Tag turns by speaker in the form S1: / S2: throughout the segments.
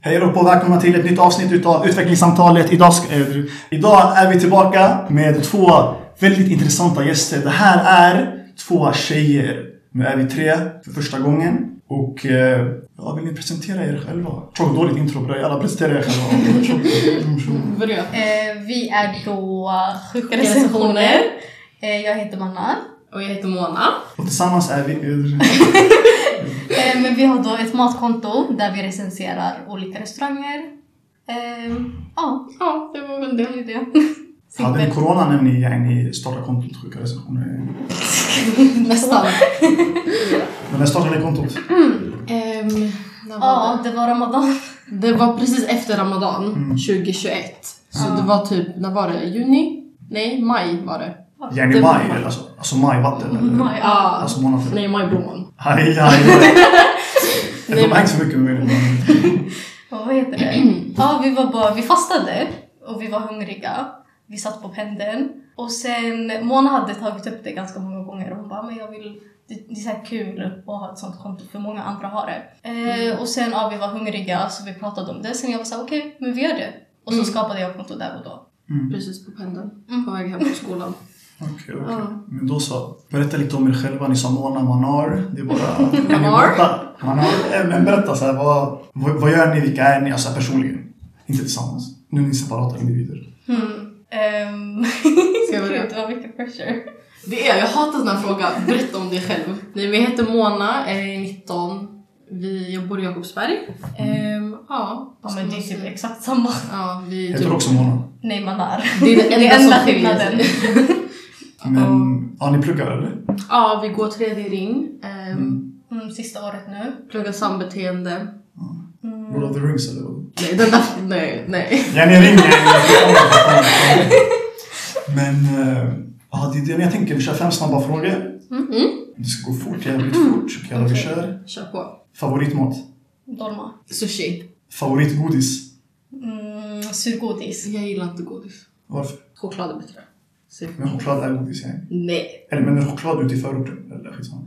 S1: Hej då och välkomna till ett nytt avsnitt utav Utvecklingssamtalet. Idag, ska, eh, idag är vi tillbaka med två väldigt intressanta gäster. Det här är två tjejer. Nu är vi tre för första gången. Och eh, ja, vill ni presentera er själva? Tråkigt dåligt intro bre. Alla presenterar er själva. Tråkigt.
S2: Börja.
S3: Eh, vi är då Sjuka
S2: Recensioner.
S3: recensioner. Eh, jag heter Manna.
S2: Och jag heter Mona.
S1: Och tillsammans är vi...
S3: Eh, men vi har då ett matkonto där vi recenserar olika restauranger. Eh, Ja,
S2: Ja, det var väl
S3: det
S2: det.
S3: är ju det.
S1: Hade ni
S3: Simpelt.
S1: corona när ni, när ni startade kontot Sjuka recensioner?
S3: Nästan.
S1: Men när startade ni kontot?
S2: Ehm, när var
S3: Ja, det var ramadan.
S2: det? det var precis efter Ramadan
S1: Mm.
S2: 2021. Så
S3: Ja.
S2: det var typ, när var det? Juni? Nej, maj var det.
S1: Jenny
S2: Det-
S1: Maj? eller Alltså, alltså majvatten? eller?
S3: Maj, ja.
S2: Ja.
S1: Alltså månaden?
S2: Nej, majblomman.
S1: Aj, aj, aj. Jag
S2: Nej,
S1: kommer
S2: men-
S1: inte så mycket med det.
S3: Och vad heter det? Ja, vi var bara, vi fastade och vi var hungriga. Vi satt på pendeln. Och sen, Mona hade tagit upp det ganska många gånger och hon bara, men jag vill, det, det är så här kul att ha ett sånt konto för många andra har det.
S2: Mm.
S3: Eh, och sen, ja, vi var hungriga så vi pratade om det. Sen jag var såhär, okej, men vi gör det. Och så
S2: Mm.
S3: skapade jag konto där och då.
S1: Mm.
S2: Precis på pendeln.
S3: Mm.
S2: På väg hem från skolan.
S1: Okej, okej.
S2: Ja.
S1: Men då så. Berätta lite om er själva. Ni sa Mona Manar. Det är bara...
S2: Manar?
S1: Berätta. Manar. Eh, Men berätta så här, vad, vad, vad gör ni? Vilka är ni? Alltså personligen. Inte tillsammans. Nu är ni separata individer.
S3: Hmm. Ehm,
S2: Mm. Ska jag börja?
S3: Gud, det var mycket pressure.
S2: Det är, jag hatar den här frågan. Berätta om dig själv. Nej, men jag heter Mona, är 19. Vi, jag bor i Jakobsberg. Ehm, ja.
S3: Ja, men det är typ exakt samma.
S2: Ja, vi typ-
S1: Jag heter också Mona.
S3: Nej, man är.
S2: Det är den
S3: Det
S2: enda,
S3: är enda
S2: som skiljer sig.
S3: skillnaden.
S1: Men,
S2: Mm.
S1: ja, ni pluggar eller?
S2: Ja, vi går tredje ring. ehm,
S1: Mm.
S3: Mm, sista året nu.
S2: Pluggar sambeteende.
S3: Mm.
S1: Lord of the Rings eller? vad?
S2: Nej, den där, nej, nej.
S1: Jenny ring mig! Men, eh, ja, det är det jag tänker. Vi kör fem snabba frågor.
S2: Mm.
S1: Det ska gå fort, jävligt fort. Okej, vi
S2: Okej.
S1: kör.
S2: Kör på.
S1: Favoritmat?
S3: Dolma.
S2: Sushi.
S1: Favoritgodis?
S3: Mm, surgodis.
S2: Jag gillar inte godis.
S1: Varför?
S2: Choklad är bättre. Så-
S1: Men choklad är godis, ja.
S2: Nej.
S1: Eller men choklad ute i förorten. Eller skitsamma.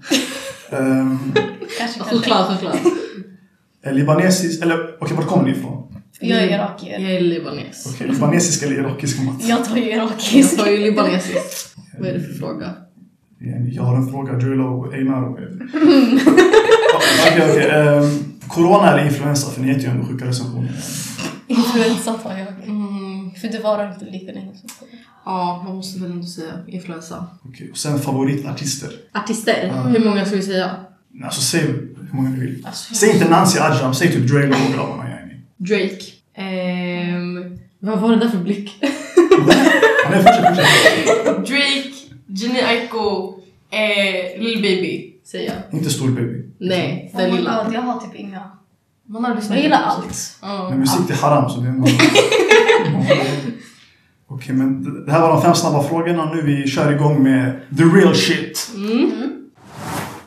S1: um,
S3: Kanske, kanske.
S2: Choklad, choklad.
S1: eh, libanesisk, eller okej, vart kommer ni ifrån?
S3: Jag är irakier.
S2: Mm. Jag är libanes.
S1: Okej, libanesisk eller irakisk mat?
S3: Jag tar ju
S2: Jag
S3: irakisk.
S2: tar ju libanesiskt. Vad är det för fråga?
S1: Jenny, Jag har en fråga, Jula och Einar. och- Okej, okej. ehm, corona eller influensa? För ni heter ju ändå sjuka recensioner.
S3: Influensa tar jag.
S2: Mm.
S3: För det varar inte lika länge som så.
S2: Ja, man måste väl ändå säga influensa.
S1: Okej, och sen favoritartister?
S2: Artister.
S1: Ja.
S2: Hur många ska vi säga?
S1: Alltså säg hur många ni vill.
S3: Alltså,
S1: Säg inte Nancy Ajram, säg typ Drelo och grabbarna yani.
S2: Drake. Ehm, vad var det där för blick?
S1: Ja, Nej, fortsätt, fortsätt.
S2: Drake, Jenny Aiko, eh, Lil Baby säger jag.
S1: Inte stor baby.
S2: Nej,
S3: oh
S2: den
S3: my
S2: lilla.
S3: god, jag har typ inga.
S2: Man har lyssnat
S3: Jag gillar
S2: på musik.
S3: allt.
S1: Men
S2: Ja.
S1: musik det är haram så det är en Okej men det- det här var de fem snabba frågorna nu vi kör igång med the real shit.
S2: Mm.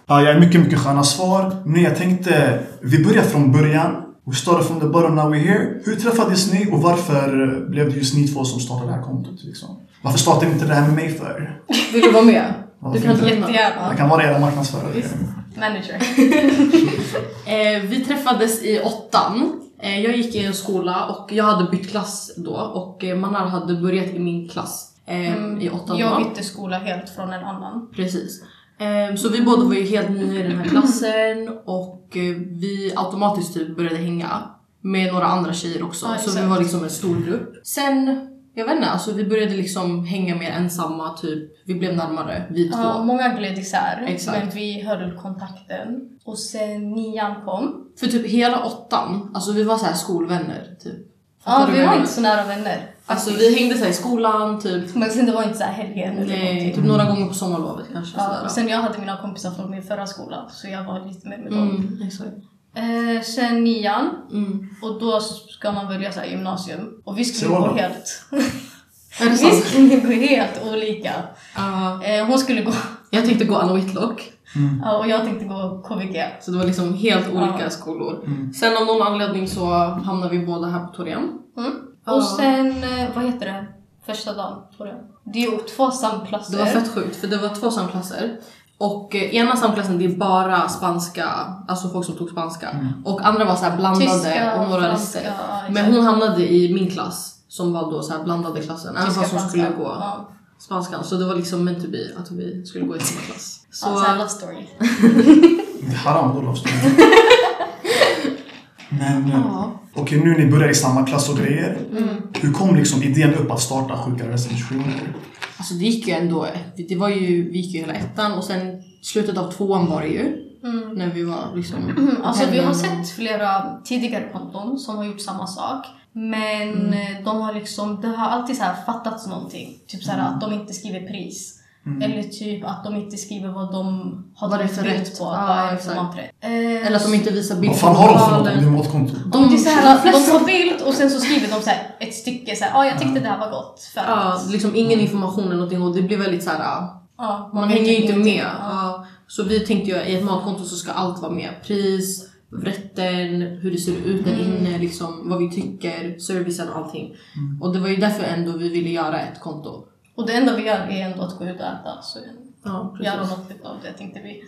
S1: Ja, jag är mycket, mycket sköna svar. Men jag tänkte, vi börjar från början. We started from the bottom, now we're here. Hur träffades ni och varför eh, blev det just ni två som startade det här kontot? Liksom? Varför startade ni inte det här med mig för?
S2: Vill du vara med?
S1: Varför
S2: Du kan
S1: inte?
S2: ta lämna.
S1: Jag
S3: Jättegärna.
S1: kan vara era marknadsförare.
S2: Visst.
S3: Manager.
S2: Eh, vi träffades i åttan. Eh, jag gick i en skola och jag hade bytt klass då och eh, Manar hade börjat i min klass eh, i åttan.
S3: Jag
S2: då.
S3: bytte skola helt från en annan.
S2: Precis. Ehm, Så vi båda var ju helt nya i den här klassen och eh, vi automatiskt typ började hänga med några andra tjejer också.
S3: Ja,
S2: så vi
S3: exakt.
S2: var liksom en stor grupp. Sen, jag vet inte, alltså vi började liksom hänga mer ensamma typ. Vi blev närmare, vi två.
S3: Ja, många gled isär,
S2: Exakt.
S3: men vi höll kontakten. Och sen nian kom.
S2: För typ hela åttan, alltså vi var så här skolvänner typ. Fattar du
S3: Ja,
S2: vad
S3: vi
S2: jag
S3: var
S2: menar?
S3: inte så nära vänner.
S2: Alltså vi hängde så här i skolan typ.
S3: Men sen det var inte så här helgen eller
S2: Nej,
S3: någonting.
S2: typ några gånger på sommarlovet kanske.
S3: Ja, och
S2: sådär.
S3: sen jag hade mina kompisar från min förra skola, så jag var lite mer med dem.
S2: Mm, exakt.
S3: Eh, sen nian,
S2: Mm.
S3: och då ska man välja så här, gymnasium. Och vi skulle
S1: Så
S3: gå
S1: då?
S3: helt...
S2: Är det
S3: vi
S2: sant?
S3: skulle gå helt olika.
S2: Ja.
S3: Eh, hon skulle gå...
S2: jag tänkte gå Anna Whitlock.
S1: Mm.
S3: Ja, och jag tänkte gå KVG.
S2: Så det var liksom helt olika
S3: Ja.
S2: skolor.
S1: Mm.
S2: Sen av någon anledning så hamnade vi båda här på Torén.
S3: Mm.
S2: Ja.
S3: Och sen, eh, vad heter det? Första dagen, tror jag. Det är ju två
S2: Det var
S3: samklasser.
S2: fett sjukt för det var två samklasser. Och eh, ena samklassen det är bara spanska, alltså folk som tog spanska.
S1: Mm.
S2: Och andra var så här blandade
S3: Tyska,
S2: och några
S3: franska,
S2: rester.
S3: ja,
S2: Men
S3: exakt.
S2: hon hamnade i min klass som var då så här blandade klassen. Även
S3: Tyska,
S2: fast hon
S3: franska,
S2: Alltså, skulle gå
S3: ja.
S2: spanskan. Så det var liksom meant to be att vi skulle gå i samma klass. Så,
S3: Ja, såhär love story.
S1: Det är haram då love story. Men eh,
S2: Ja. Mm.
S1: okej, nu ni börjar i samma klass och grejer. Hur kom liksom idén upp att starta sjukare recensioner?
S2: Alltså det gick ju ändå, det var ju, vi gick ju hela ettan och sen slutet av tvåan var det ju. När vi var liksom...
S3: Mm, Alltså vi har
S2: hemma.
S3: sett flera tidigare konton som har gjort samma sak. Men
S2: Mm.
S3: eh, de har liksom, det har alltid så här fattats någonting. Typ så här
S2: Mm.
S3: att de inte skriver pris. Eller typ att de inte skriver vad de har
S2: Vad det är
S3: tagit
S2: för
S3: bild
S2: rätt.
S3: på.
S2: Ja,
S3: vad är det
S2: exakt.
S3: som har rätt. Eh,
S2: Eller att de inte visar bilder
S1: Vad fan har de för något om det är matkonto?
S3: de, det är så här,
S2: de
S3: de
S2: flesta...
S3: tar bild och sen så skriver de så här ett stycke så här, ja ah, jag tyckte det här var gott. För
S2: Ja,
S3: att,
S2: liksom ingen information eller någonting och det blir väldigt så här. ah,
S3: Mm. ja,
S2: Man,
S3: vet
S2: hänger ju inte med.
S3: ingenting. Ja.
S2: Ja. Så vi tänkte ju i ett matkonto så ska allt vara med. Pris, rätten, hur det ser ut
S3: Mm.
S2: där inne, liksom, vad vi tycker, servicen och allting.
S3: Mm.
S2: Och det var ju därför ändå vi ville göra ett konto.
S3: Och det enda vi gör är ändå att gå ut och äta. Så
S2: Ja,
S3: göra något av det tänkte vi.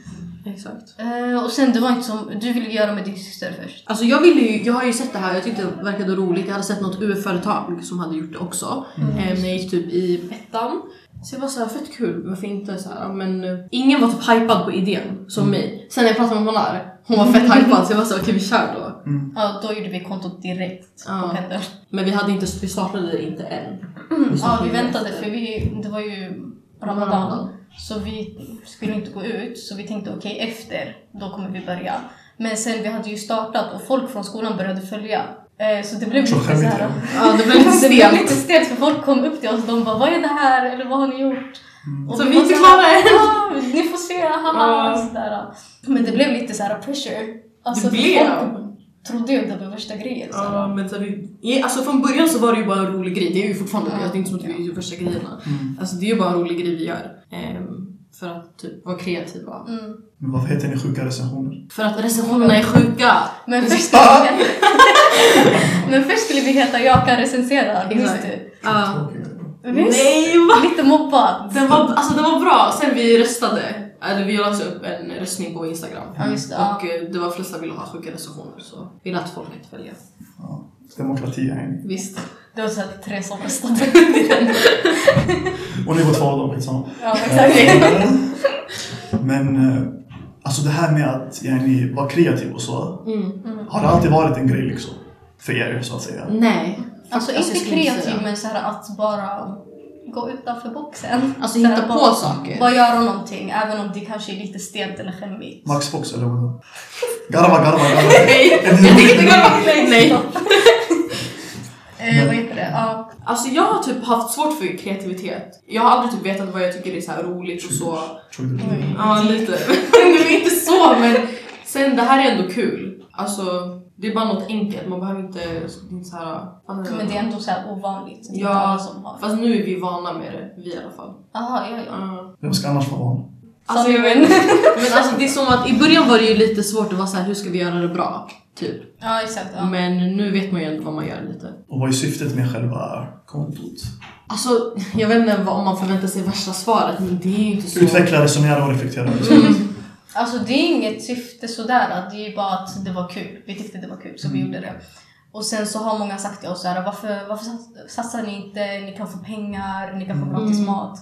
S2: Exakt.
S3: Eh, och sen det var inte som, du ville göra med din syster först.
S2: Alltså jag, ville ju, jag har ju sett det här jag tyckte det verkade roligt. Jag hade sett något UF-företag som hade gjort det också.
S3: Mm.
S2: Eh, när jag gick typ i ettan. Så jag var såhär, fett kul, varför inte? Så här, ja, men, eh, ingen var typ hypad på idén som
S3: Mm.
S2: mig. Sen när jag pratade med Monar, hon var fett hypad så jag var så okej vi kör då.
S3: Mm. Ja, då gjorde vi kontot direkt
S2: Ja.
S3: på pendeln.
S2: Men vi, hade inte, vi startade det inte än.
S3: Mm. Ja, vi väntade för vi, det var ju Ramadan. Så vi skulle inte gå ut, så vi tänkte okej efter, då kommer vi börja. Men sen vi hade ju startat och folk från skolan började följa. Eh, Så det blev
S1: Så
S3: lite så
S1: skämmigt,
S3: här.
S2: Ja, det blev lite
S3: Det blev
S2: stelt.
S3: lite stelt för folk kom upp till oss de bara vad är det här eller vad har ni gjort? Och
S2: Mm. Så vi
S3: var
S2: är inte
S3: så här,
S2: klara än.
S3: "Ja, Ni får se, haha!
S2: Ja.
S3: och sådär. Men det blev lite så här pressure. Alltså,
S2: Det
S3: för
S2: blev.
S3: Folk trodde ju att det var värsta grejen. så här.
S2: Ja, men så vi, i- alltså från början så var det ju bara en rolig grej. Det är ju fortfarande det. Det är inte som att vi gör värsta grejerna. Alltså det är ju bara en rolig grej vi gör. Ehm, för att typ vara kreativa.
S3: Mm.
S1: Men varför heter ni sjuka recensioner?
S2: För att recensionerna är sjuka.
S3: Men först, skulle vi heta, men först skulle vi heta Jag kan recensera, minns
S2: Exakt.
S3: du?
S2: Ja.
S3: Visst?
S2: Nej va?
S3: Lite mobbad.
S2: Den var, alltså, den var bra. Sen vi röstade, eller vi la också upp en röstning på Instagram.
S3: Ja, just det.
S2: Och
S3: Ja.
S2: eh, det var flesta ville ha sjuka recensioner så ville att folk inte välja.
S1: Ja, demokrati är ni.
S2: Visst.
S3: Det var så här tre som röstade.
S1: Och ni var två av dem, skitsamma.
S3: ja, exakt.
S1: Men eh, alltså det här med att ja, ni var kreativ och så.
S2: Mm.
S3: Mm.
S1: Har det alltid varit en grej liksom? För er så att säga?
S2: Nej.
S3: Alltså,
S2: jag
S3: inte
S2: skulle inte
S3: kreativ,
S2: säga.
S3: men så här att bara gå utanför boxen.
S2: Alltså
S3: Så här,
S2: hitta på
S3: bara,
S2: saker.
S3: Bara göra någonting, även om det kanske är lite stelt eller skämmigt.
S1: Max Fox eller vadå? Garva, garva, garva.
S2: Nej, jag tänker inte gå längre. Nej.
S3: Eh, vad heter det? Ja.
S2: Alltså jag har typ haft svårt för kreativitet. Jag har aldrig typ vetat vad jag tycker är så här roligt och så.
S1: Tror du det?
S2: Ja, lite. Men inte så, men sen det här är ändå kul. Alltså, det är bara något enkelt. Man behöver inte, det är inte så här...
S3: Men det är ändå så här ovanligt. Det är inte alla
S2: Ja,
S3: som har.
S2: fast nu är vi vana med det. Vi i alla fall.
S3: Aha, ja, ja.
S2: Ja.
S1: Vem ska annars vara van?
S2: Alltså, jag vet inte. Men alltså det är som att i början var det ju lite svårt att vara så här, hur ska vi göra det bra? Typ.
S3: Ja, exakt. Ja.
S2: Men nu vet man ju ändå vad man gör lite.
S1: Och vad är syftet med själva kontot?
S2: Alltså, jag vet inte vad, om man förväntar sig värsta svaret, men det är ju inte så...
S1: Utveckla, resonera och reflektera. liksom.
S3: Alltså det är inget syfte sådär, det är ju bara att det var kul. Vi tyckte det var kul så vi gjorde det. Och sen så har många sagt till oss såhär, varför, varför sats- satsar ni inte? Ni kan få pengar, ni kan få gratis mat.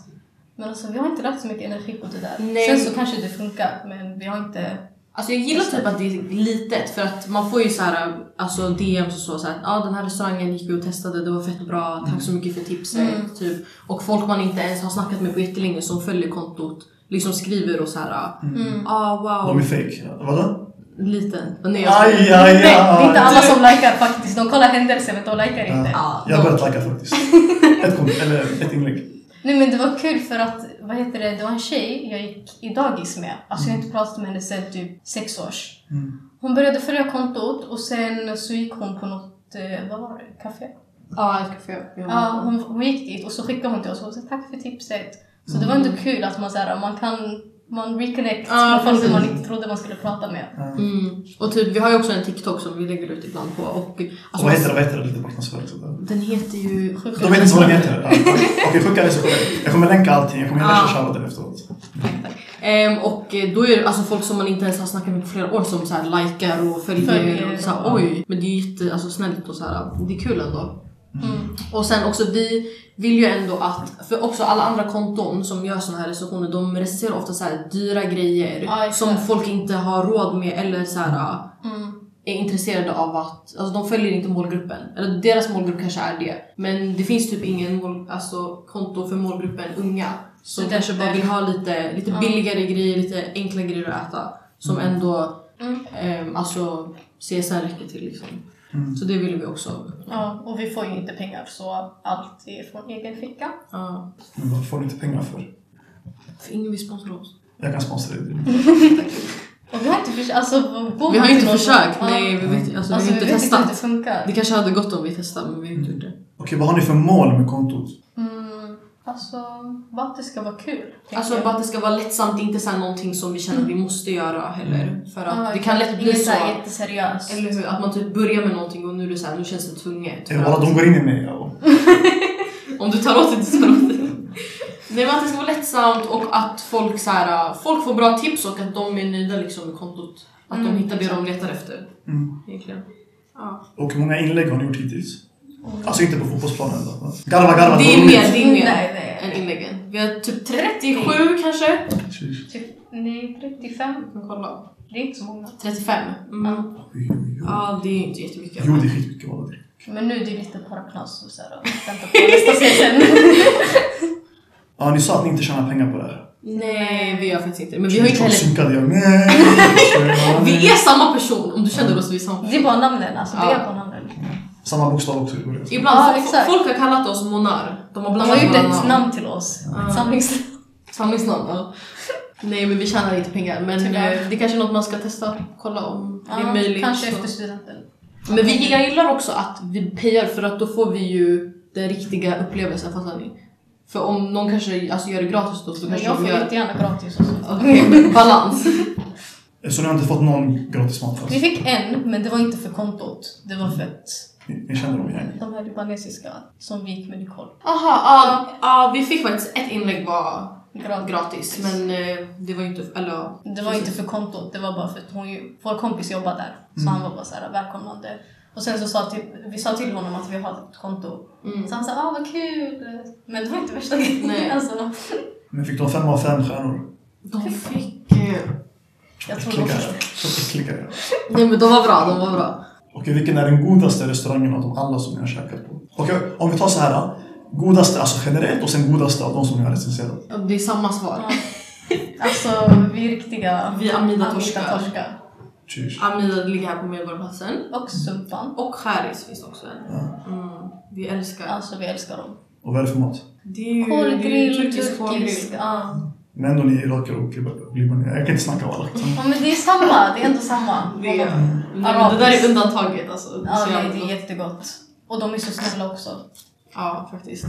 S3: Men alltså vi har inte lagt så mycket energi på det där.
S2: Nej.
S3: Sen så kanske det funkar men vi har inte...
S2: Alltså jag gillar typ att det är litet för att man får ju så här, alltså DMs och så, så här, ah, den här restaurangen gick vi och testade, det var fett bra, tack så mycket för tipset. Typ. Och folk man inte ens har snackat med på jättelänge som följer kontot liksom skriver och så här,
S1: Mm.
S2: ah
S1: De är
S2: wow,
S1: fake. Vadå?
S2: liten. Och nej, jag skojar.
S1: Aj, aj,
S3: Nej, det är inte
S1: aj.
S3: alla som likar faktiskt. De kollar händelser men de likar inte.
S2: Ja,
S1: Jag har
S2: de-
S1: börjat lajka faktiskt. Ett, kom- eller ett inlägg.
S3: Nej men det var kul för att, vad heter det, det var en tjej jag gick i dagis med. Alltså
S2: Mm.
S3: jag har inte pratat med henne sedan typ sex års. Hon började följa kontot och sen så gick hon på något, eh, vad var det, café?
S2: Ja, ett café. Ja.
S3: Ja, hon, hon gick dit och så skickade hon till oss och hon sa tack för tipset. Så det var ändå kul att man, så här, man kan man reconnect
S2: Mm. Ja,
S3: med folk som man
S2: precis.
S3: inte trodde man skulle prata med.
S2: Mm. Och typ, vi har ju också en TikTok som vi lägger ut ibland på och alltså,
S1: Och vad heter det? Vad heter det? Lite marknadsföring. sådär.
S2: den heter ju sjuka
S1: De vet inte vad den heter. Ja, Okej, skicka det så kommer jag. Jag kommer länka allting. Jag kommer hela tjejtjallraden efteråt.
S2: Ehm, och eh, då är det alltså folk som man inte ens har snackat med på flera år som så här likar och följer,
S3: Följer.
S2: och så här, oj. Men det är jätte, alltså, snällt och så här, det är kul ändå.
S3: Mm.
S2: Och sen också vi vill ju ändå att, för också alla andra konton som gör såna här recensioner de recenserar ofta så här dyra grejer
S3: Ja, exakt.
S2: som folk inte har råd med eller så här
S3: Mm.
S2: är intresserade av att, alltså de följer inte målgruppen. Eller deras målgrupp kanske är det. Men det finns typ ingen mål, alltså, konto för målgruppen unga. Som
S3: Studenter.
S2: kanske bara vill ha lite, lite
S3: Ja.
S2: billigare grejer, lite enkla grejer att äta. Som ändå
S3: Mm.
S2: ehm, alltså, CSN räcker till liksom.
S1: Mm.
S2: Så det vill vi också uppnå.
S3: Ja, och vi får ju inte pengar så allt är från egen ficka.
S2: Ja.
S1: Men vad får du inte pengar för?
S2: För ingen vill sponsra oss.
S1: Jag kan sponsra dig.
S3: Och vi har inte försökt, alltså vår bok
S2: Vi har ju inte
S3: är något-
S2: försökt,
S3: Ja.
S2: nej vi vet alltså, vi
S3: Alltså
S2: har inte
S3: vi vet inte hur det
S2: testat. Det
S3: funkar.
S2: kanske hade gått om vi testade men vi har inte gjort det.
S1: Okej, vad har ni för mål med kontot?
S3: Mm. Alltså, bara att det ska vara kul. tänker
S2: Alltså
S3: jag.
S2: bara att det ska vara lättsamt, inte så här någonting som vi känner att vi måste göra heller. För att
S3: Ja,
S2: det kan lätt bli
S3: Inget
S2: så.
S3: så här jätteseriöst.
S2: Eller hur? Att man typ börjar med någonting och nu är det så här, nu känns det tvunget.
S1: Eh, Bara de går in i mig. ja.
S2: Om du tar åt dig, du tar åt dig. Nej men att det ska vara lättsamt och att folk, så här, folk får bra tips och att de är nöjda liksom med kontot. Att
S3: Mm,
S2: de hittar det
S3: exakt.
S2: de letar efter.
S1: Mm.
S2: Egentligen. Ja.
S1: Och hur många inlägg har ni gjort hittills? Alltså inte på fotbollsplanen då. Garva, garva.
S2: Det är
S1: roligt.
S2: mer, det är mer.
S3: Nej, nej.
S2: än inläggen. Vi har typ 37 kanske.
S1: Sheesh.
S3: Typ, nej, 35.
S2: kan kolla.
S3: Det är inte så många.
S2: 35.
S3: Ja.
S1: Oj, oj, oj.
S2: Ja, det är inte jättemycket.
S1: Jo, det är skitmycket. vad det är.
S3: Men nu är det ju lite bara knas och så här, och vänta på nästa season.
S1: Ja, ni sa att ni inte tjänar pengar på det här.
S2: Nej, vi gör faktiskt inte det. Men vi har inte heller...
S1: Synkade jag. Nej!
S2: Vi är samma person. Om du känner oss, vi är samma person.
S3: Det är bara namnen, alltså det
S2: Ja.
S3: är bara namnen.
S1: Samma bokstav också. i början.
S2: Ibland,
S3: Ja,
S2: folk-
S3: exakt.
S2: folk har kallat oss Monar. De har
S3: De
S2: blandat
S3: har gjort
S2: våra
S3: ett namn till oss.
S2: Ja.
S3: Ett samlingsnamn.
S2: Samlingsnamn, ja. Nej, men vi tjänar inte pengar. Men
S3: Tyvärr.
S2: eh, det kanske är något man ska testa. Kolla om det
S3: Ja,
S2: är möjligt.
S3: Kanske
S2: så.
S3: efter studenten.
S2: Men vi, jag gillar också att vi pejar för att då får vi ju den riktiga upplevelsen, fattar ni? För om någon kanske alltså, gör det gratis då, så
S3: Men
S2: kanske
S3: jag
S2: de
S3: får
S2: gör...
S3: jättegärna gratis också.
S2: Okej, men balans.
S1: Så ni har inte fått någon gratis mat
S3: Vi
S1: alltså?
S3: fick en, men det var inte för kontot. Det var för att
S1: Ni, ni känner dem igen?
S3: de här libanesiska som vi gick med Nicole.
S2: Aha, ja, ja, vi fick faktiskt ett inlägg var
S3: Gratis.
S2: gratis men eh, det var ju inte, eller ja,
S3: Det var inte för kontot, det var bara för att hon, ju- vår kompis jobbar där. Så
S2: Mm.
S3: han var bara så här välkomnande. Och sen så sa till, vi sa till honom att vi har ett konto.
S2: Mm.
S3: Så han sa ah vad kul! Men det var inte värsta grejen.
S2: Nej.
S3: Alltså,
S1: Men fick de fem av fem stjärnor?
S2: de fick... eh,
S3: jag tror
S1: Äckliga.
S3: de
S1: Så äckliga. ja.
S2: Nej men de var bra, de var bra.
S1: Okej, vilken är den godaste restaurangen av de alla som ni har käkat på? Okej, om vi tar så här. Godaste, alltså generellt och sen godaste av de som ni har recenserat.
S2: Ja, Det är samma svar.
S3: Alltså vi är riktiga
S2: Vi är Amida-torskar.
S3: Amida-torskar.
S1: Tjus.
S2: Amida ligger här på Medborgarplatsen.
S3: Och Sumpan.
S2: Och Charis finns också en.
S1: Ja.
S2: Mm, vi älskar.
S3: Alltså vi älskar dem.
S1: Och vad är det för mat?
S2: Det är ju det är ju
S3: Kolgrill,
S2: turkisk
S3: turkisk.
S2: kolgrill.
S3: Ja.
S1: Men ändå ni är iraker och liban- libaneser. Jag kan inte snacka liksom. om alla.
S3: ja men det är samma, det är ändå samma.
S2: Det, är-
S3: Ja,
S2: nej, men det där är undantaget alltså. Det är
S3: Ja
S2: så
S3: nej,
S2: jävla
S3: det
S2: gott.
S3: är jättegott. Och de är så snälla också.
S2: Ja, faktiskt.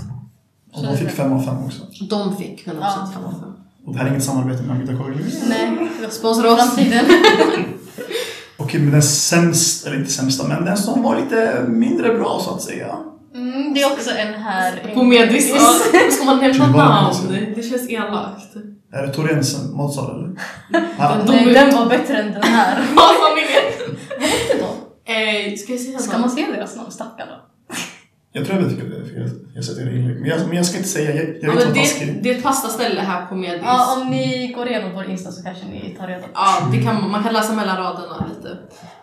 S1: Och de fick fem av fem också.
S2: De fick 100%
S3: Ja.
S2: fem av fem.
S1: Och det här är inget samarbete med Amita Koglu.
S3: Nej,
S2: Sponsra oss.
S3: framtiden.
S1: Okej, men den sämsta, eller inte sämsta, men den som var lite mindre bra så att säga.
S3: Mm, det är också en här.
S2: På medis. Ja, Ska man nämna
S1: Tillbaka.
S2: namn? Det känns elakt.
S1: Är det Torrensen matsal eller? Ja.
S3: Nej, den var bättre än den här.
S2: Ja, familjen.
S3: Inte då.
S2: Eh, ska jag säga
S3: Ska man säga deras namn? Stackarna.
S1: Jag tror jag vet vilket det är, för jag, jag har sett era inlägg. Men jag, men jag ska inte säga, jag, jag
S2: Ja,
S1: vet
S2: men
S1: vad
S2: det,
S1: taskig.
S2: det är ett pastaställe här på Medis.
S3: Ja, om ni går igenom vår Insta så kanske ni tar reda på.
S2: Ja, det kan, man kan läsa mellan raderna lite.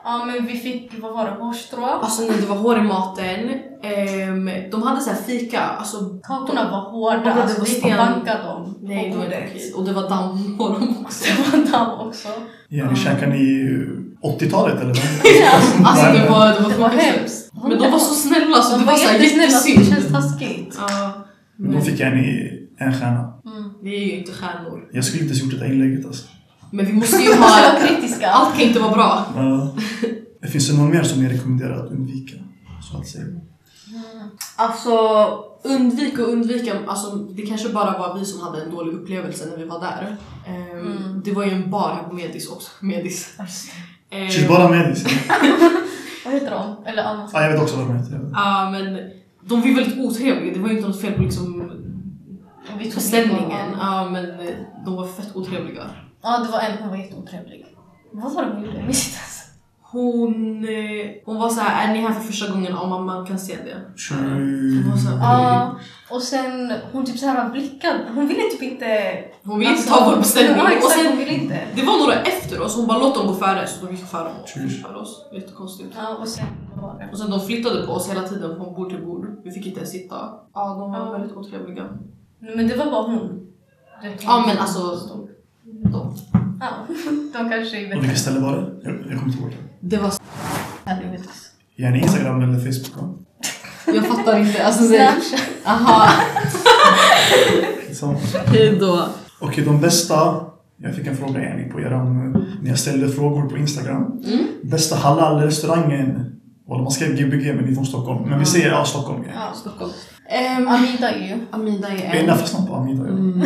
S3: Ja, men vi fick, vad var det, hårstrå?
S2: Alltså nej, det var hår i maten. Ehm, de hade så här fika. Alltså,
S3: Kakorna var
S2: Ja,
S3: hårda.
S2: det
S3: Alltså,
S2: var
S3: vi
S2: sten.
S3: bankade dem.
S2: nej, det
S3: och
S2: var inte
S3: bordet.
S2: okej. Och det var damm på dem också.
S3: Det var damm också.
S1: Ja, ni käkar ni eh, 80-talet eller?
S2: Alltså det var, det var,
S3: Det var
S2: sjukt.
S3: hemskt.
S2: Men de var så snälla så
S3: De
S2: det
S3: var
S2: var såhär
S3: jättesnälla, så det
S2: jättesynd.
S3: känns taskigt.
S2: Ja,
S1: Men då
S2: men
S1: fick jag en, i- en stjärna.
S3: Mm.
S2: vi är ju inte stjärnor.
S1: Jag skulle inte ens gjort det där inlägget alltså.
S2: Men vi måste ju
S3: Vi måste vara
S2: ha...
S3: kritiska.
S2: Allt kan inte vara bra.
S1: Ja. eh, Finns det någon mer som ni rekommenderar att undvika? Så att
S2: Eh.
S1: säga.
S3: Mm.
S2: Alltså undvik och undvika, alltså, det kanske bara var vi som hade en dålig upplevelse när vi var där. Ehm,
S3: Mm.
S2: Det var ju en bar här på Medis också. Medis. Ehm,
S1: Kyss bara med dig.
S3: Vad heter de? Eller annars.
S1: Ja, jag vet också vad de heter.
S2: Ja men de var ju väldigt otrevliga, det var ju inte något fel på liksom
S3: Och vi tog
S2: Beställningen.
S3: bilder på-
S2: Ja, men eh, de var fett otrevliga.
S3: Ja, det var en. Hon var jätteotrevlig. Vad var det hon gjorde? Jag minns inte ens.
S2: Hon, eh, hon var så här, är ni här för första gången? Ja, mamma kan se det. Hon var
S1: Tjur.
S2: så här,
S3: Ja, och sen hon typ så här blickade. Hon ville typ inte...
S2: hon vill inte ta vår beställning.
S3: Ja,
S2: Och
S3: exakt.
S2: sen,
S3: Hon ville inte.
S2: det var några efter oss, hon bara låt dem gå före. Så de gick före oss.
S1: Tjur.
S2: Före oss. Jättekonstigt.
S3: Ja, och sen vad var det?
S2: Och sen de flyttade på oss hela tiden från bord till bord. Vi fick inte ens sitta. Ja, de var
S3: Ja.
S2: väldigt otrevliga.
S3: Nej, Men det var bara hon. Det-
S2: Ja, men alltså- De.
S3: Ja, de kanske är
S1: Och
S3: bättre.
S1: vilket ställe var det? Jag, jag kommer inte ihåg. det.
S2: Det var
S1: Gärna Instagram eller Facebook va?
S2: Jag fattar inte. Alltså, så,
S3: Snapchat.
S2: aha,
S1: Skitsamma.
S2: hejdå.
S1: Okej, de bästa... Jag fick en fråga Jenny på eran... När jag ställde frågor på Instagram.
S2: Mm.
S1: Bästa halal-restaurangen? Well, man skrev Gbg men det är från Stockholm. Men vi säger ja, Stockholm. Ja.
S3: Ja.
S2: Stockholm.
S3: Ehm,
S2: Um,
S3: Amida ju.
S2: Amida är
S1: Jag
S2: en.
S1: gillar fastnat på Amida. ja.
S2: Mm.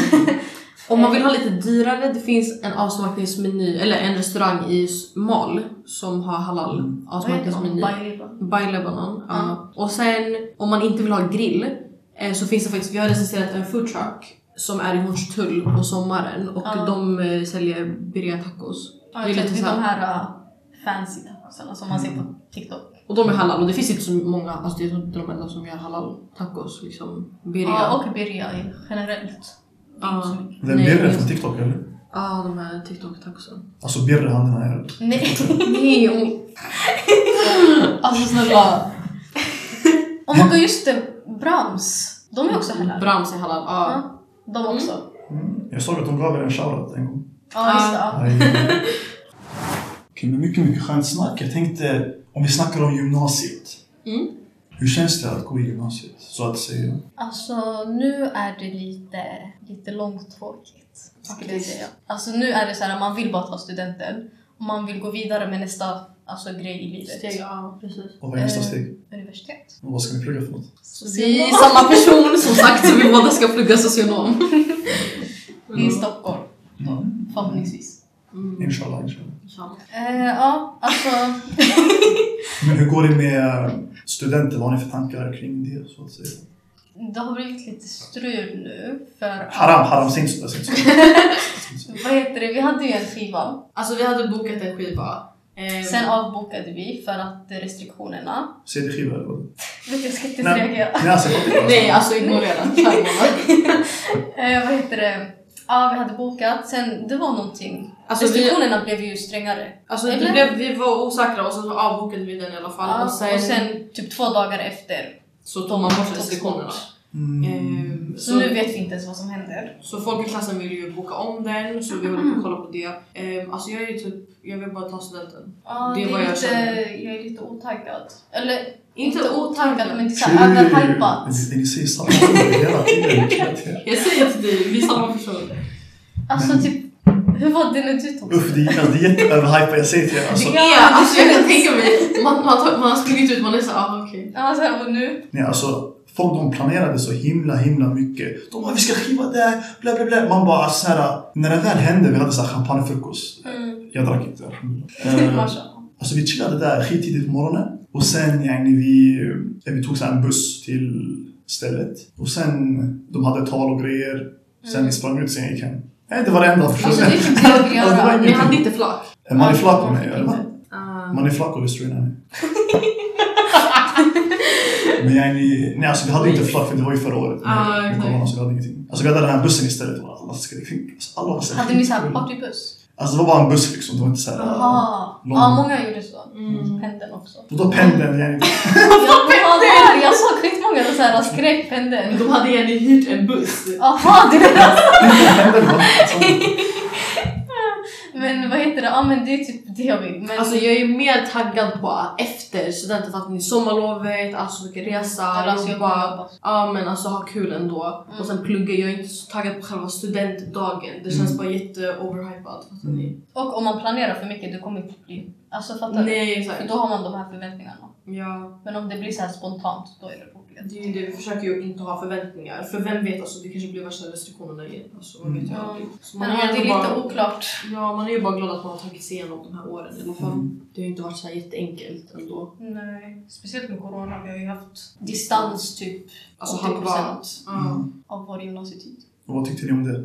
S2: Om man vill ha lite dyrare, det finns en avsmakningsmeny, eller en restaurang i S- Mall som har
S3: Mm.
S2: halal avsmakningsmeny.
S3: Bailiba.
S2: By Lebanon. Ja.
S3: Ja.
S2: Och sen om man inte vill ha grill eh, så finns det faktiskt, vi har recenserat en food truck som är i Hornstull på sommaren och
S3: Ja.
S2: de eh, säljer birria tacos.
S3: Ja,
S2: Det är
S3: exakt.
S2: lite
S3: det
S2: så
S3: är
S2: här- Mm.
S3: de här uh, fancy tacosarna som man ser på TikTok.
S2: Och de är halal och det finns inte så många, alltså det är inte de enda som gör halal tacos liksom. Birria.
S3: Ja, och birria ju, generellt. Det är inte
S2: Ja.
S3: så mycket.
S1: Den
S2: Nej,
S1: Birre
S2: just-
S1: från TikTok eller?
S2: Ja, de här TikTok-tacosen.
S1: Alltså Birre han den här.
S3: Nej.
S2: Nej, hon... alltså snälla.
S3: Oh my god, just det! Brahms. De är också halal.
S2: Brahms är halal, ja.
S3: Ja, de också.
S1: Mm. Jag såg att de gav er en shoutout en gång.
S3: Ja, just det. Ja.
S1: Aj. Okej, men mycket, mycket skönt snack. Jag tänkte, om vi snackar om gymnasiet.
S2: Mm.
S1: Hur känns det att gå i gymnasiet? Så att säga.
S3: Alltså, nu är det lite, lite långtråkigt. Skulle jag
S2: Faktiskt.
S3: säga. Alltså, nu är det så här, man vill bara ta studenten. Och man vill gå vidare med nästa alltså, grej i livet.
S2: Steg, ja precis.
S1: Och vad är nästa
S3: Eh,
S1: steg?
S3: Universitet.
S1: Och vad ska ni plugga för något?
S2: Vi är samma person som sagt så vi båda ska plugga socionom.
S3: I Stockholm,
S1: Mm.
S3: förhoppningsvis.
S2: Mm.
S1: Inshallah, inshallah.
S3: Eh, ja, alltså...
S1: Men hur går det med studenter? Vad har ni för tankar kring det? Så att säga?
S3: Det har blivit lite strul nu. För
S1: Haram, haram, säg inte sådär. säg inte sådär. Säg inte sådär.
S3: Vad heter det? Vi hade ju en skiva.
S2: Alltså vi hade bokat en skiva. Eh,
S3: Sen avbokade vi för att restriktionerna...
S1: Säg det skiva eller vad?
S3: Vet du, jag ska inte ens
S1: Nej.
S3: reagera.
S1: Nej, alltså jag fattar inte.
S2: Nej alltså ignorera. Kör bara.
S3: Eh, vad heter det? Ja, vi hade bokat. Sen, det var någonting.
S2: Alltså, vi-
S3: restriktionerna blev ju strängare.
S2: Alltså det
S3: Eller?
S2: blev, vi var osäkra och sen så avbokade vi den i alla fall.
S3: Ja,
S2: och, sen,
S3: typ två dagar efter.
S2: så tog man bort restriktionerna.
S1: Mm.
S2: Eh,
S3: Så nu vet vi inte ens vad som händer.
S2: Så folk i klassen ville ju boka om den så vi håller på att kolla på det. Eh, alltså jag är ju typ, jag vill bara ta studenten.
S3: Ja,
S2: Det är vad jag
S3: lite,
S2: känner.
S3: jag är lite otaggad. Eller
S2: Inte
S3: inte,
S2: otaggad.
S3: otaggad, men inte
S1: Tjur.
S3: såhär överhypat.
S1: Ni- Ni säger samma ord hela tiden. hela tiden.
S2: Jag säger till dig, vi är samma person.
S3: Alltså
S1: Men-
S3: typ, hur var det när du tog
S1: Uff, det, alltså, det är jätteöverhypat, jag säger till er. Alltså,
S2: det är, alltså jag kan tänka mig, man, man, tar- man har sprungit ut, man är såhär, ah, okej.
S3: Ja, så här, och nu?
S1: nej, alltså, folk de planerade så himla, himla mycket. De bara, vi ska skiva där, bla bla bla. Man bara, alltså, så här, när det väl hände, vi hade så här champagnefrukost.
S3: Mm.
S1: Jag drack inte.
S3: Till
S1: Eh,
S3: Marsha.
S1: alltså vi chillade där skittidigt på morgonen. Och sen yani, vi, eh, vi tog så här, en buss till stället. Och sen, de hade tal och grejer. Sen vi sprang ut, sen gick hem. Nej, det var det enda
S3: Mm. Alltså det är
S1: försöket.
S3: typ det jag vill
S1: Alltså, det var
S3: göra.
S1: inget-
S2: Ni hade inte flak?
S1: Man är flack med mig, eller vad?
S2: Ah.
S1: Man är flack och destroy nu. Men jag är ni, nej alltså vi hade inte flack för det var ju förra året. med-
S2: Ah,
S1: med
S2: okej.
S1: corona, så vi hade ingenting. Alltså vi hade den här bussen istället. Och alla skulle, alltså, alla var så här
S3: Hade ni såhär
S1: skitfulla.
S3: partybuss?
S1: Alltså det var bara en buss liksom. Det var inte såhär...
S3: Jaha.
S1: lång-
S3: Ja, många gjorde så.
S2: Mm.
S3: Pendeln också.
S1: Och då pendeln, jag är
S3: Jag, jag såg skitmånga som så här skrek pendeln.
S2: De hade gärna hyrt en buss.
S3: Jaha, det är
S1: pendeln. va? Alltså,
S3: Men vad heter det? Ja men det är typ det jag vill. Men
S2: Alltså jag är mer taggad på att efter studenten, för att ni sommarlovet, alltså vi kan resa,
S3: Eller alltså, jag kommer
S2: jobba.
S3: jobba.
S2: Ja men alltså ha kul ändå.
S3: Mm.
S2: Och sen plugga, jag är inte så taggad på själva studentdagen. Det känns
S1: Mm.
S2: bara jätte overhypad. Fattar ni?
S3: Och om man planerar för mycket, du kommer inte bli... Alltså fattar du?
S2: Nej
S3: För
S2: exakt.
S3: då har man de här förväntningarna.
S2: Ja,
S3: Men om det blir så här spontant, då är det roligt.
S2: det är ju det, vi försöker ju inte ha förväntningar. För vem vet, alltså det kanske blir värsta restriktionerna igen. Alltså man vet ju
S3: Mm.
S2: aldrig. Så
S3: Men
S2: är
S3: ja, det är
S2: ändå
S3: lite
S2: bara-
S3: oklart.
S2: Ja, man är ju bara glad att man har tagit sig igenom de här åren i alla fall.
S1: Mm.
S2: Det har ju inte varit så här jätteenkelt ändå.
S3: Nej, speciellt med corona. Vi har ju haft distans typ
S2: Alltså
S3: 80%
S2: halva. Ja.
S1: mm.
S3: av vår gymnasietid.
S1: Och vad tyckte ni om det?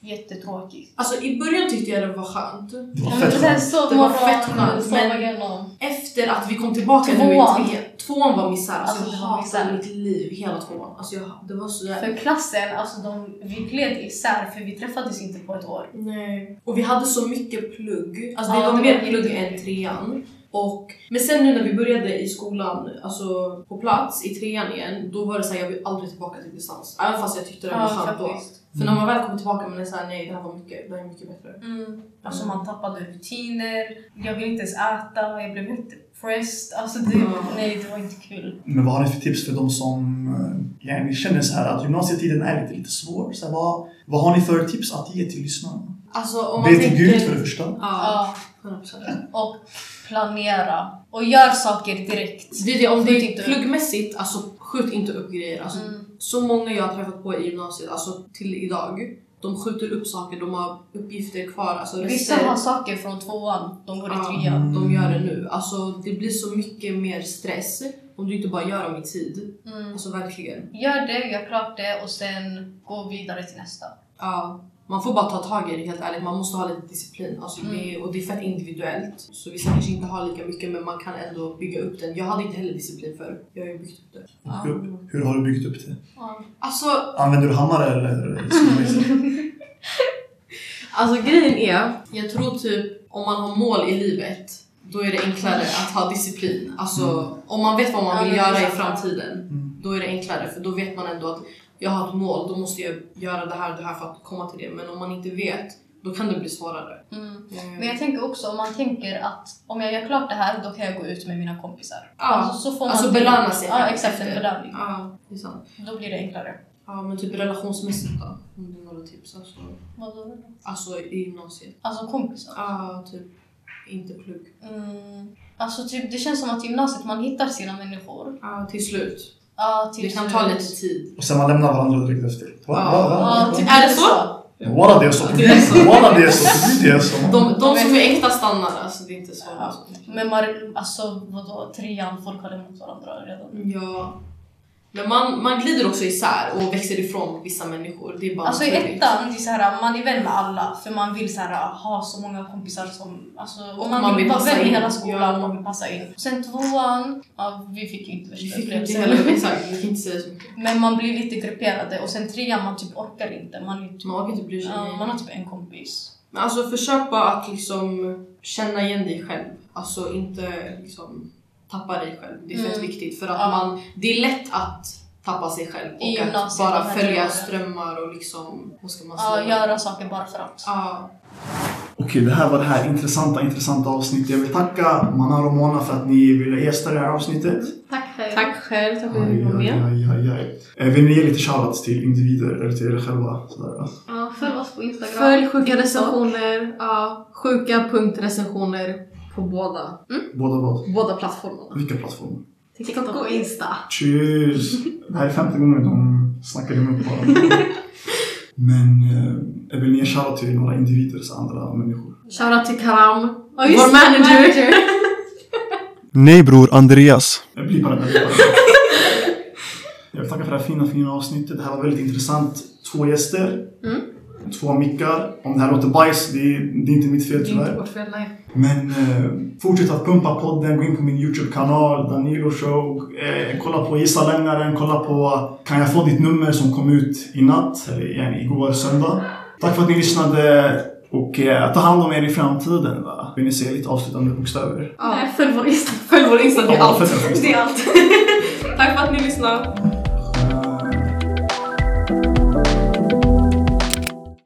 S3: Jättetråkigt.
S2: Alltså i början tyckte jag det var skönt.
S1: Det var
S3: Ja, men
S1: fett
S3: sen
S1: skönt.
S3: sov
S2: Det var
S3: morgon,
S2: fett skönt,
S3: sova
S2: men-
S3: igenom.
S2: Efter att vi kom tillbaka
S3: Tvåan.
S2: nu i tre, tvåan var misär. Alltså,
S3: Alltså, det
S2: jag
S3: var
S2: hatade
S3: misär.
S2: mitt liv, hela tvåan. Alltså jag, det var så jävla...
S3: För klassen, alltså de, vi gled isär för vi träffades inte på ett år.
S2: Nej. Och vi hade så mycket plugg. Alltså det
S3: Ja,
S2: var
S3: det
S2: mer
S3: var
S2: plugg
S3: jättemycket.
S2: än trean. Och, men sen nu när vi började i skolan, alltså på plats i trean igen, då var det såhär jag vill aldrig tillbaka till distans. Även fast jag tyckte det var skönt då. För när man väl kommer tillbaka man är såhär nej det här var mycket, det här är mycket bättre.
S3: Mm. Alltså man tappade rutiner, jag ville inte ens äta, jag blev inte pressed. Alltså det,
S2: Mm.
S3: nej, det var inte kul.
S1: Men vad har ni för tips för de som eh, ja, ni känner så här att gymnasietiden är lite, lite svår? Så här, vad, vad har ni för tips att ge till lyssnarna?
S2: Alltså om man
S1: Be till
S2: tänker...
S1: Gud för det första.
S2: Ja,
S3: Ja.
S2: 100%.
S3: Och planera. Och gör saker direkt.
S2: Det är det, om
S3: Skjut
S2: det
S3: inte Mm.
S2: är
S3: upp.
S2: pluggmässigt, alltså skjut inte upp grejer. Alltså, Så många jag har träffat på i gymnasiet, alltså till idag, de skjuter upp saker, de har uppgifter kvar. Alltså
S3: Vissa
S2: rester,
S3: har saker från tvåan, de går i
S2: Ja.
S3: trean.
S2: de gör det nu. Alltså det blir så mycket mer stress om du inte bara gör dem i tid.
S3: Mm.
S2: Alltså verkligen.
S3: Gör det, gör klart det och sen gå vidare till nästa.
S2: Ja. Man får bara ta tag i det helt ärligt, man måste ha lite disciplin. Alltså,
S3: Mm.
S2: det, och det är fett individuellt. Så vissa kanske inte har lika mycket men man kan ändå bygga upp den. Jag hade inte heller disciplin för jag har ju byggt upp det.
S1: Hur, hur har du byggt upp det?
S2: Alltså
S1: Använder du hammare eller skruvmejsel?
S2: Alltså grejen är, jag tror typ om man har mål i livet då är det enklare att ha disciplin. Alltså om man vet vad
S3: Ja,
S2: man vill
S3: men det är
S2: göra i
S3: sant.
S2: framtiden
S1: Mm.
S2: då är det enklare för då vet man ändå att jag har ett mål, då måste jag göra det här och det här för att komma till det. Men om man inte vet, då kan det bli svårare. Eh,
S3: Mm. Men jag tänker också om man tänker att om jag gör klart det här då kan jag gå ut med mina kompisar.
S2: Ja.
S3: Alltså, så får man
S2: Alltså
S3: det.
S2: belöna sig
S3: Ja,
S2: själv
S3: exakt. En
S2: efter.
S3: belöning.
S2: Ja, det är sant.
S3: Då blir det enklare.
S2: Ja, men typ relationsmässigt då? Om du har några tips? Alltså,
S3: Vadå?
S2: alltså i gymnasiet?
S3: Alltså kompisar.
S2: Ja, typ inte plugg.
S3: Mm. Alltså typ, det känns som att gymnasiet, man hittar sina människor.
S2: Ja, till slut.
S3: Ja, typ
S2: Det kan
S3: så-
S2: ta lite tid.
S1: Och sen man lämnar varandra direkt efter. Va?
S2: Ja.
S1: Va? Va?
S3: Ja,
S1: Va?
S3: typ
S2: Är det
S3: lite
S2: så?
S1: Walla det är så.
S2: Det är så.
S1: Walla det är så. Det är så.
S2: De, de som är äkta stannar, alltså det är inte så.
S3: Ja. Men man, alltså vadå, trean, folk har lämnat varandra redan.
S2: Ja. Men man, man glider också isär och växer ifrån vissa människor. Det är bara
S3: Alltså i
S2: naturligt.
S3: ettan, det är så här, man är vän med alla för man vill så här, ha så många kompisar som... Alltså, och man,
S2: man
S3: vill
S2: vill
S3: vara
S2: passa
S3: vän i
S2: in.
S3: hela skolan,
S2: Ja.
S3: man vill passa in. Sen tvåan, ja, vi fick ju inte
S2: Vi
S3: värsta
S2: fick inte
S3: upplevelsen.
S2: heller, exakt, vi kan inte säga så mycket.
S3: Men man blir lite grupperade och sen trean, man typ orkar inte. Man, är typ,
S2: Man orkar inte bry sig.
S3: ja, man har typ en kompis.
S2: Men alltså försök bara att liksom känna igen dig själv. Alltså inte liksom tappa dig själv. Det är fett
S3: Mm.
S2: viktigt för att
S3: Ja.
S2: man, det är lätt att tappa sig själv
S3: I
S2: och att
S3: gymnasiet,
S2: bara
S3: de här
S2: följa
S3: drömmarna.
S2: strömmar och liksom, vad ska man
S3: Ja,
S2: säga?
S3: göra saker bara för att.
S2: Ja.
S1: Okej, det här var det här intressanta, intressanta avsnittet. Jag vill tacka Manar och Mona för att ni ville gästa det här avsnittet.
S3: Tack själv.
S4: Tack själv, tack för att du var
S1: Aj, aj,
S4: med.
S1: aj, aj, aj. Eh, Vill ni ge lite shoutouts till individer eller till er själva? Sådär.
S5: Ja, följ oss på Instagram.
S4: Följ sjuka recensioner, ja, sjuka.recensioner på båda,
S1: Båda vad?
S4: båda plattformarna.
S1: Vilka plattformar?
S4: TikTok och Insta.
S1: Tjus! Det här är femte gången de snackar i mun på varandra. Men eh, vill ni ge shoutout till några individer, så andra människor?
S4: Shoutout till Karam,
S3: Ja, just
S4: vår
S3: det,
S4: manager.
S1: Nej bror, Andreas. Jag blir bara jag blir bara- Jag vill tacka för det här fina, fina avsnittet. Det här var väldigt intressant. Två gäster. Två mickar. Om det här låter bajs, det är, det är inte mitt fel
S4: Det är inte
S2: Mm.
S1: tyvärr.
S4: vårt fel, nej.
S1: Men eh, fortsätt att pumpa podden, gå in på min YouTube-kanal, Danilo Show. Eh, kolla på Gissa Lögnaren, kolla på Kan jag få ditt nummer som kom ut i natt, eller igen, igår söndag. Tack för att ni lyssnade och eh, ta hand om er i framtiden. Va? Vill ni se lite avslutande bokstäver?
S4: Ja.
S3: 哦
S5: Följ vår Instagram.
S4: Följ vår Insta, det är
S1: Ja,
S4: allt.
S1: för-
S4: Det är allt. Tack för att ni lyssnade.